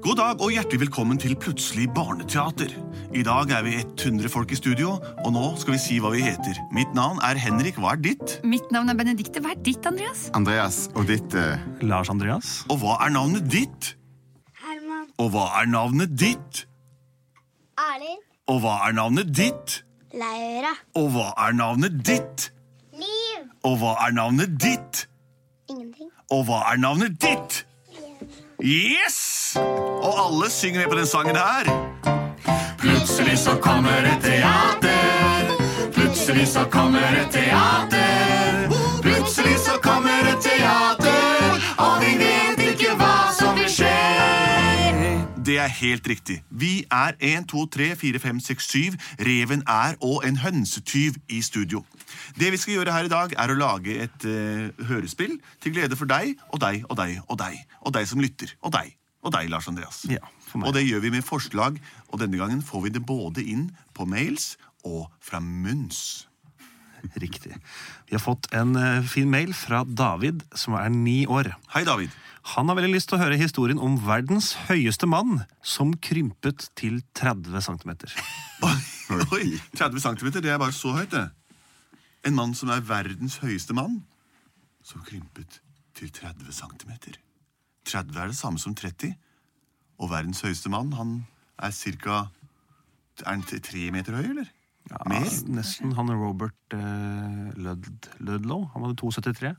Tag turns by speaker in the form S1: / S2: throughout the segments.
S1: God dag og hjertelig velkommen til Plutselig barneteater. I dag er vi 100 folk i studio, og nå skal vi si hva vi heter. Mitt navn er Henrik, hva er ditt?
S2: Mitt navn er Benedikte. Hva er ditt, Andreas?
S3: Andreas og ditt eh,
S4: Lars Andreas.
S1: Og hva er navnet ditt?
S5: Herman.
S1: Og hva er navnet ditt?
S5: Arild.
S1: Og hva er navnet ditt?
S5: Laura.
S1: Og hva er navnet ditt?
S5: Liv.
S1: Og hva er navnet ditt?
S5: Ingenting.
S1: Og hva er navnet ditt? Yes! Og alle synger med på den sangen her. Plutselig så kommer et teater. Plutselig så kommer et teater. Plutselig så kommer et teater, og vi vet ikke hva som vil skje. Det er helt riktig. Vi er 1, 2, 3, 4, 5, 6, 7. Reven er og en hønsetyv i studio. Det vi skal gjøre her i dag, er å lage et eh, hørespill til glede for deg og deg og deg og deg. Og deg som lytter. Og deg. Og deg, Lars Andreas.
S4: Ja, for meg.
S1: Og det gjør vi med forslag, og denne gangen får vi det både inn på mails og fra munns.
S4: Riktig. Vi har fått en eh, fin mail fra David, som er ni år.
S1: Hei, David.
S4: Han har veldig lyst til å høre historien om verdens høyeste mann som krympet til 30 cm.
S1: Oi, 30 cm, det er bare så høyt, det. En mann som er verdens høyeste mann, som krympet til 30 cm. 30 er det samme som 30, og verdens høyeste mann, han er cirka Er han t- tre meter høy, eller? Mer?
S4: Nesten han Robert eh, Lud Ludlow. Han hadde 2,73.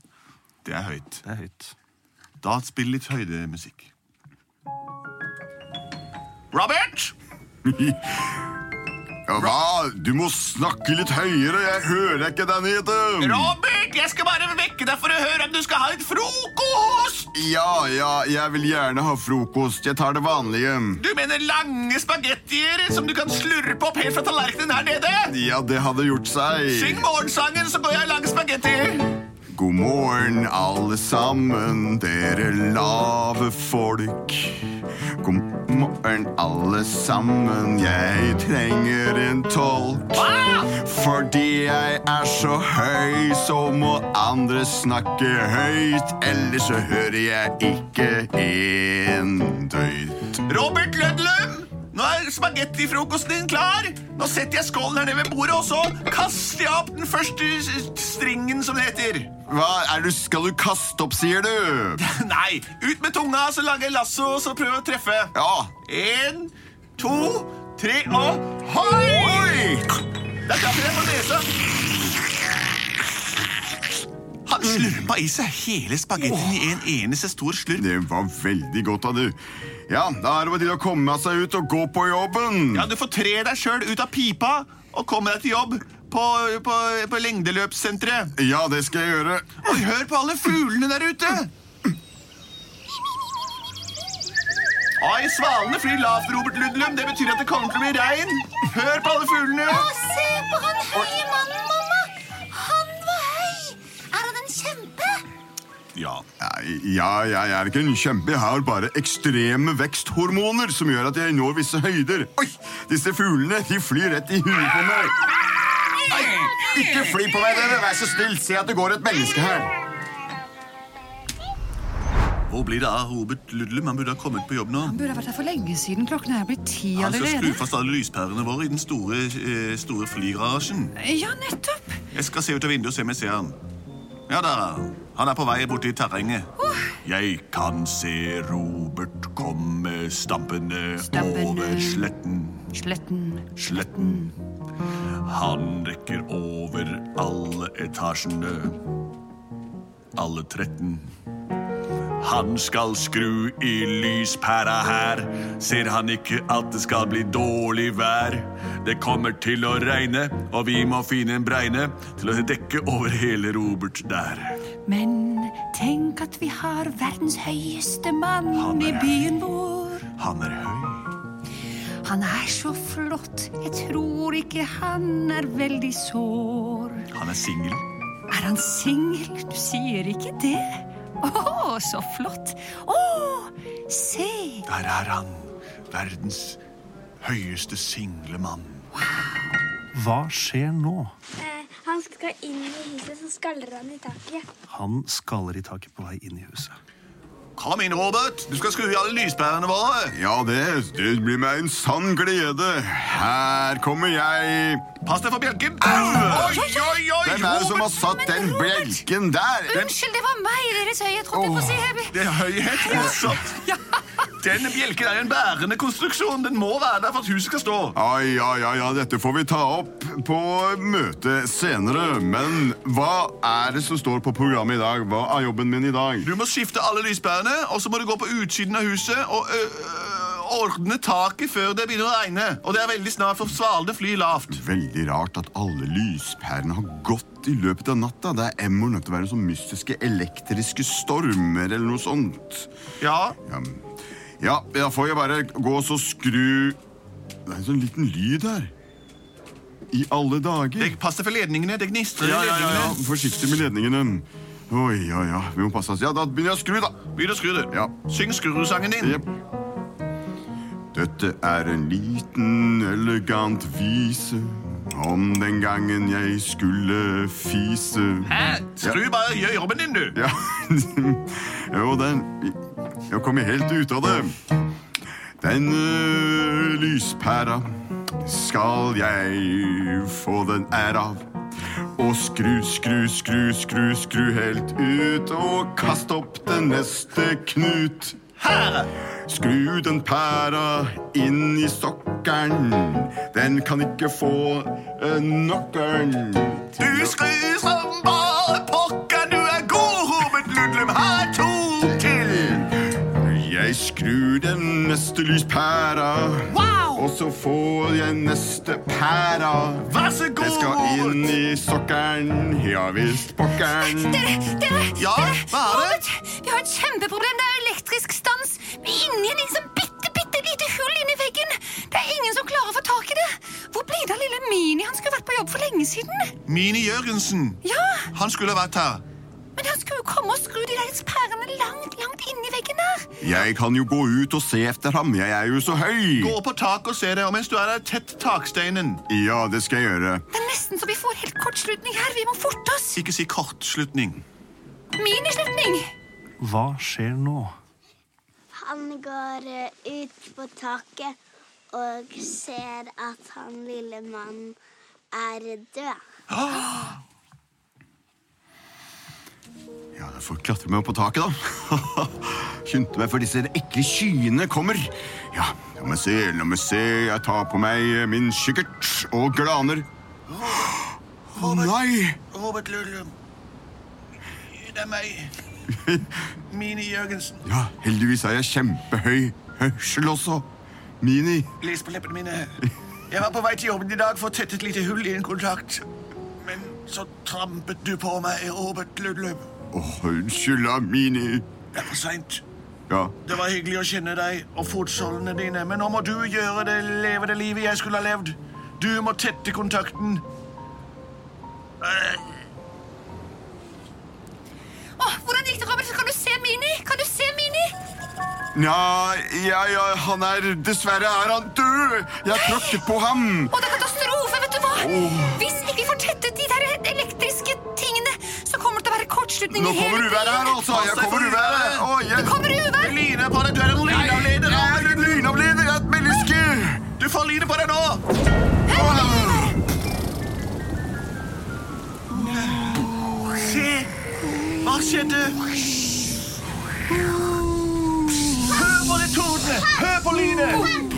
S1: Det er høyt.
S4: Det er høyt.
S1: Da spill litt høydemusikk. Robert!
S3: ja, Hva? Du må snakke litt høyere! Jeg hører ikke den hiten!
S1: Robert, jeg skal bare vekke deg for å høre om du skal ha litt frokost!
S3: Ja, ja, jeg vil gjerne ha frokost. Jeg tar det vanlige.
S1: Du mener lange spagettier som du kan slurpe opp helt fra tallerkenen her nede?
S3: Ja, det hadde gjort
S1: Syng
S3: seg.
S1: morgensangen, så går jeg og lager spagetti.
S3: God morgen, alle sammen, dere lave folk. God morgen, alle sammen, jeg trenger en tolk. Fordi jeg er så høy, så må andre snakke høyt. Ellers så hører jeg ikke en døyt.
S1: Robert Lødlum, nå er spagettifrokosten din klar. Nå setter jeg skålen her nede ved bordet, og så kaster jeg opp den første s- stringen, som det heter.
S3: Hva er du, skal du kaste opp, sier du?
S1: Nei, ut med tunga, så lager jeg lasso, og så prøver jeg å treffe.
S3: Ja.
S1: En, to, tre, og hoi! Der traff jeg på nesa. Han slurpa i seg hele spagettien i en eneste stor slurp.
S3: Det var veldig godt av du. Ja, da er det bare til å komme seg ut og gå på jobben.
S1: Ja, du får tre deg sjøl ut av pipa og komme deg til jobb på, på, på lengdeløpssenteret.
S3: Ja, det skal jeg gjøre.
S1: Og hør på alle fuglene der ute! Ai, svalene flyr lavt, Robert Ludlum. Det betyr at det kommer til å bli regn. Hør på alle fuglene!
S5: se på han høye mannen, mamma! Han var høy! Er han en kjempe?
S1: Ja.
S3: Nei, Ja, jeg er ikke en kjempe. Jeg har bare ekstreme veksthormoner som gjør at jeg når visse høyder. Oi, disse fuglene de flyr rett i huet på meg. Nei, ikke fly på meg, dere. Vær så snill. Se at det går et menneske her.
S1: Hvor blir det av Robert Ludlum? Han burde ha kommet på jobb nå.
S2: Han burde ha vært her for lenge siden. Klokken er blitt ti
S1: Han skal skru
S2: allerede.
S1: fast alle lyspærene våre i den store, eh, store flygarasjen.
S2: Eh, Ja, nettopp!
S1: Jeg skal se ut av vinduet og se om jeg ser han. Ja, der er han. Han er på vei borti terrenget. Jeg kan se Robert komme stampende,
S2: Stampende.
S1: over sletten,
S2: Sletten.
S1: sletten. Han rekker over alle etasjene, alle 13. Han skal skru i lyspæra her. Ser han ikke at det skal bli dårlig vær? Det kommer til å regne, og vi må finne en bregne til å dekke over hele Robert der.
S2: Men tenk at vi har verdens høyeste mann
S1: Han er
S2: i byen vår.
S1: Han er høy.
S2: Han er så flott. Jeg tror ikke han er veldig sår.
S1: Han er singel.
S2: Er han singel? Du sier ikke det? Å, så flott. Å, se!
S1: Der er han. Verdens høyeste single mann.
S4: Hva skjer nå?
S5: Eh, han skal inn i huset, så skaller han i taket.
S4: Han skaller i taket på vei inn i huset.
S1: Kom inn, Robert. Du skal skru i alle lyspærene våre.
S3: Ja, det, det blir meg en sann glede. Her kommer jeg.
S1: Pass deg for bjelken.
S3: Au!
S1: Oi, oi, oi!
S3: Ah! Hvem er det som har satt den bjelken der?
S5: Unnskyld, det var meg, Deres Høyhet, holdt jeg på å si. Jeg ble-
S1: Det er høyhet fortsatt. Den bjelken er en bærende konstruksjon. Den må være der for at huset skal stå.
S3: Ai, ai, ai, ai, dette får vi ta opp på møtet senere. Men hva er det som står på programmet i dag? Hva er jobben min i dag?
S1: Du må skifte alle lyspærene, og så må du gå på utsiden av huset og ø, ø, ordne taket før det begynner å regne. Og det er veldig snart, for svalene flyr lavt.
S3: Veldig rart at alle lyspærene har gått i løpet av natta. Det er emmer nødt til å være sånn mystiske elektriske stormer eller noe sånt.
S1: Ja,
S3: Ja, men- ja, da får jeg bare gå og så skru Det er en sånn liten lyd her. I alle dager.
S1: det passer for ledningene. Det gnistrer i
S3: Ja, ja, ja,
S1: ledningene.
S3: ja. Forsiktig med ledningene. Oi, ja, ja. Vi må passe oss. Ja, da begynner jeg å skru, da.
S1: Begynn å skru, du.
S3: Ja.
S1: Syng skrurusangen din.
S3: Jep. Dette er en liten, elegant vise om den gangen jeg skulle fise.
S1: Hæ? Skru bare gjør jobben din, du.
S3: Ja, jo, den Jeg kommer helt ut av det. Den ø, lyspæra skal jeg få den ære av. Og skru, skru, skru, skru, skru helt ut, og kast opp den neste knut.
S1: Her!
S3: Skru den pæra inn i sokkeren. Den kan ikke få eh, nokkeren.
S1: Du skrur som bare pokker. Du er god, Robert Ludlum. Her to til.
S3: Jeg skrur den neste lyspæra,
S1: Wow!
S3: og så får jeg neste pæra.
S1: Vær så
S3: Det
S1: god,
S3: skal inn
S1: Robert.
S3: i sokkeren, ja visst pokkeren.
S5: Dere, dere,
S1: Ja,
S5: dere,
S1: hva er det?
S5: Robert, Vi har et kjempeproblem. Det er elektrisk stans inni en liksom bitte, bitte lite hull inni veggen. Det er ingen som klarer å få tak i det. Hvor blir det av lille Mini? Han skulle vært på jobb for lenge siden.
S1: Mini Jørgensen.
S5: Ja,
S1: Han skulle ha vært her.
S5: men han skulle jo komme og skru de der pærene langt, langt inni veggen der.
S3: Jeg kan jo gå ut og se etter ham, jeg er jo så høy.
S1: Gå opp på taket og se deg om mens du er der tett taksteinen.
S3: Ja, det skal jeg gjøre.
S5: Det er nesten så vi får helt kortslutning her. Vi må forte oss.
S1: Ikke si kortslutning.
S5: Minislutning.
S4: Hva skjer nå?
S6: Han går eh, ut på taket og ser at han lille mannen er død.
S3: Ja, jeg får klatre meg opp på taket, da. Skyndte meg før disse ekle skyene kommer. Ja, la meg se, la meg se. Jeg tar på meg eh, min kikkert og glaner. Å nei!
S1: Robert Ludlum. Det er meg. Mini Jørgensen.
S3: Ja, heldigvis er jeg kjempehøy hørsel også. Mini.
S1: Les på leppene mine. Jeg var på vei til jobben i dag for å tette et lite hull i en kontakt. Men så trampet du på meg, Robert Ludlum.
S3: Åh, unnskyld, da, Mini.
S1: Det er for seint.
S3: Ja,
S1: Det var hyggelig å kjenne deg og fotsålene dine, men nå må du gjøre det, leve det livet jeg skulle ha levd. Du må tette kontakten.
S5: Åh, hvordan gikk det, Robert? Kan du se Mini? Kan du se Mini?
S3: ja, ja, ja han er Dessverre er han død! Jeg tråkket på ham.
S5: Å, det er katastrofe, vet du hva? Hvis ikke vi får tettet de der elektriske tingene, så kommer det til å være kortslutning
S3: Nå
S5: i
S3: kommer
S5: hele
S3: uværet her, altså.
S1: Pass
S3: Jeg
S1: deg for
S3: kommer uværet.
S1: uværet.
S3: Å,
S5: Det
S3: jeg...
S5: kommer uvær!
S1: Line på deg, du er en lynavleder.
S3: Jeg er en lynavleder, jeg er et menneske!
S1: Du får line på deg nå! Se! Hva skjedde? Hør på det tordnet! Hør på lynet!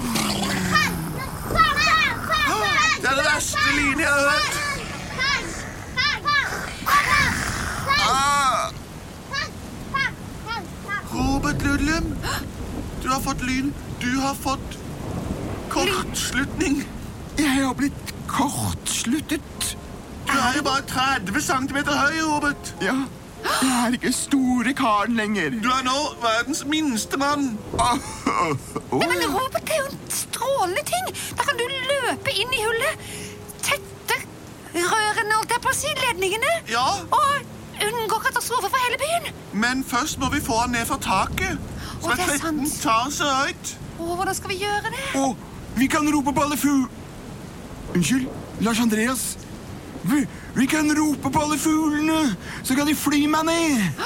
S1: Det er det verste lynet jeg har hørt.
S3: Ah,
S1: Robert Ludlum, du har fått lyn. Du har fått kortslutning.
S3: jeg har blitt kortsluttet.
S1: Du er jo bare 30 cm høy, Robert.
S3: Ja, jeg er ikke store karen lenger.
S1: Du er nå verdens minste mann.
S3: Ah, ah,
S5: Nei, men
S3: ah.
S5: Robert, det er jo en strålende ting. Da kan du løpe inn i hullet, tette rørene, holdt jeg på å si, ledningene,
S1: Ja,
S5: og unngå katastrofe for hele byen.
S1: men først må vi få han ned fra taket. Som
S5: Å, det
S1: er
S5: er
S1: 13
S5: sant.
S1: tas høyt.
S5: Å, hvordan skal vi gjøre det?
S3: Å, vi kan rope på alle fugl... Unnskyld, Lars Andreas. Vi, vi kan rope på alle fuglene, så kan de fly meg ned.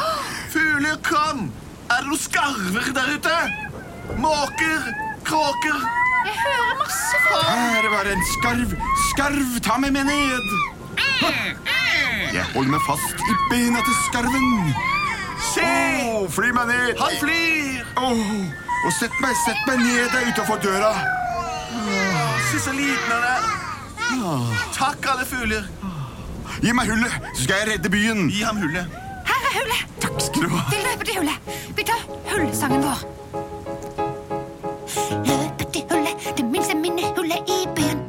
S1: Fugler, kom! Er det noen skarver der ute? Måker? Kråker?
S5: Jeg hører masse folk.
S3: Her var en skarv. Skarv, ta meg med ned. Jeg holder meg fast i beina til skarven.
S1: Se!
S3: Åh, fly meg ned.
S1: Han flyr!
S3: Åh, og sett meg, sett meg ned der utenfor døra.
S1: Se så liten han er. Takk, alle fugler.
S3: Gi meg hullet, så skal jeg redde byen.
S1: Gi ham hullet.
S5: Her er hullet. Takk skal
S3: du ha.
S5: Vi løper til hullet. Vi tar hullsangen vår. Løper til hullet, det minste minnehullet i byen.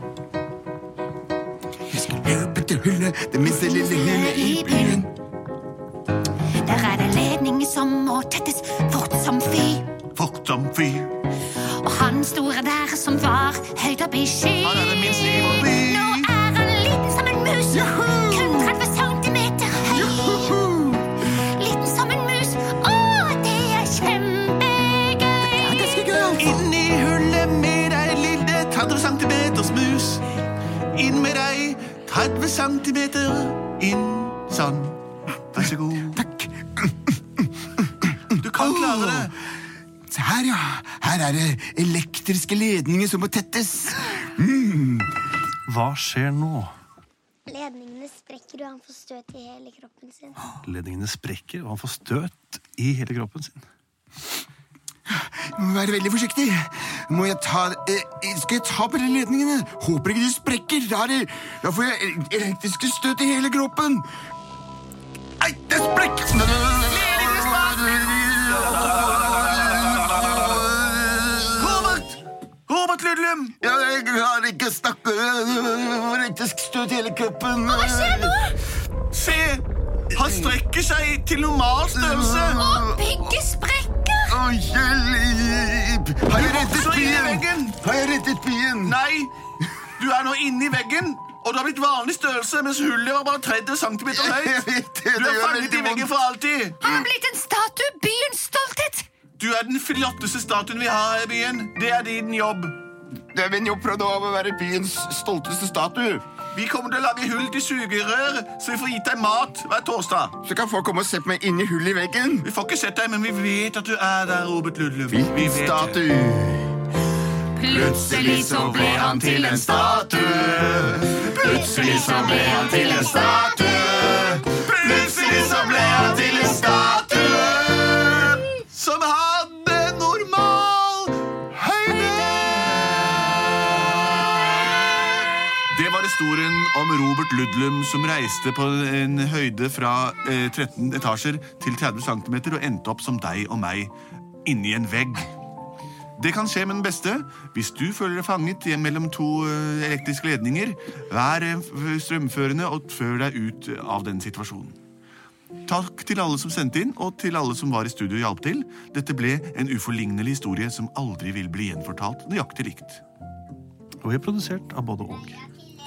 S3: Jeg skal løpe til hullet, det minste lille hullet i byen.
S5: Der er det ledninger som må tettes fort som fy.
S1: Fort som fy.
S5: Og han store der som var høyt opp i sky.
S1: Han er det minste i vår by.
S5: Nå er han liten som en mus. Kun 30 centimeter høy. Liten som en mus. Å, det er kjempegøy.
S1: Inn i hullet med deg, lille 30 centimeters mus. Inn med deg, 30 centimeter. Inn sånn. Vær så god. Takk. Du kan klare det.
S3: Se her, ja. Her er det elektriske ledninger som må tettes.
S4: Hva skjer nå?
S6: Ledningene sprekker, og han får støt i hele kroppen sin.
S4: Ledningene sprekker, og han får støt i hele kroppen sin.
S3: Må være veldig forsiktig. Må jeg ta eh, Skal jeg ta på de ledningene? Håper ikke de sprekker. Da, er det, da får jeg elektriske støt i hele kroppen. Ei, det sprekk!
S1: Robert! Robert Ludlum!
S3: Ja, Jeg klarer ikke å snakke. Elektrisk støt i hele kroppen.
S5: Hva skjer nå?
S1: Se! Han strekker seg til normal størrelse.
S5: Og pigget sprekker.
S3: Å, hjelp! Har jeg rettet
S1: Så inn i
S3: byen?
S1: veggen!
S3: Har jeg rettet byen?
S1: Nei, du er nå inni veggen, og du har blitt vanlig størrelse, mens hullet var bare 30 cm
S3: Jeg
S1: høyt.
S3: vet det,
S1: Du er
S3: det gjør
S1: fanget
S3: veldig
S1: i veggen
S3: vondt.
S1: for alltid.
S5: Han har blitt en statue. Byens stolthet.
S1: Du er den flotteste statuen vi har her i byen. Det er din jobb.
S3: Det er min jobb fra nå av å være byens stolteste statue.
S1: Vi kommer til å lage hull til sugerør, så vi får gitt deg mat hver torsdag.
S3: Så kan folk komme og se på meg inni hullet i veggen.
S1: Vi får ikke sett deg, men vi vet at du er der, Robert Ludlum. Vi
S3: Hvilken
S1: vet det.
S3: statue?
S1: Plutselig så ble han til en statue. Plutselig så ble han til en statue. Plutselig så ble han til en statue som hadde normal høyde. Det var historien om Robert Ludlum som reiste på en høyde fra eh, 13 etasjer til 30 cm og endte opp som deg og meg inni en vegg. Det kan skje med den beste. Hvis du føler deg fanget i- mellom to eh, elektriske ledninger, vær eh, f- strømførende og før deg ut eh, av den situasjonen. Takk til alle som sendte inn, og til alle som var i studio og hjalp til. Dette ble en uforlignelig historie som aldri vil bli gjenfortalt nøyaktig likt.
S4: Og vi er produsert av både og.